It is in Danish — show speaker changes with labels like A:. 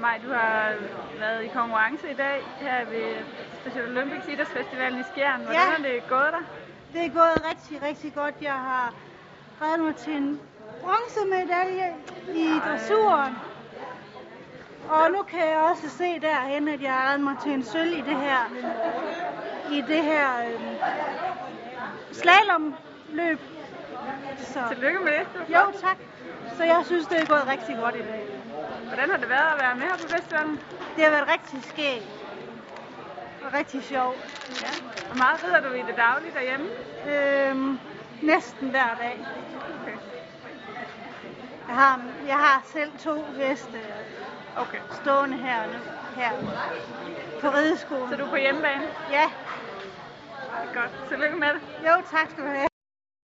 A: Maj, du har været i konkurrence i dag her ved Special Olympics Idrætsfestivalen i Skjern. Hvordan
B: Ja.
A: har det gået dig?
B: Det er gået rigtig, rigtig godt. Jeg har reddet mig til en bronzemedalje i dressuren. Og nu kan jeg også se derhen, at jeg har reddet mig til en sølv i det her, i det her øhm, slalomløb. Så,
A: Tillykke med det.
B: jo tak. Så jeg synes, det er gået rigtig godt i dag.
A: Hvordan har det været at være med her på festivalen?
B: Det har været rigtig skægt. Og rigtig sjovt.
A: Ja. Hvor meget rider du i det daglige derhjemme?
B: Øhm, næsten hver dag.
A: Okay.
B: Jeg har, jeg har selv to heste
A: okay.
B: stående her nu, her på rideskolen.
A: Så du er på hjemmebane?
B: Ja,
A: Godt. Tillykke med det.
B: jo tak skal du have.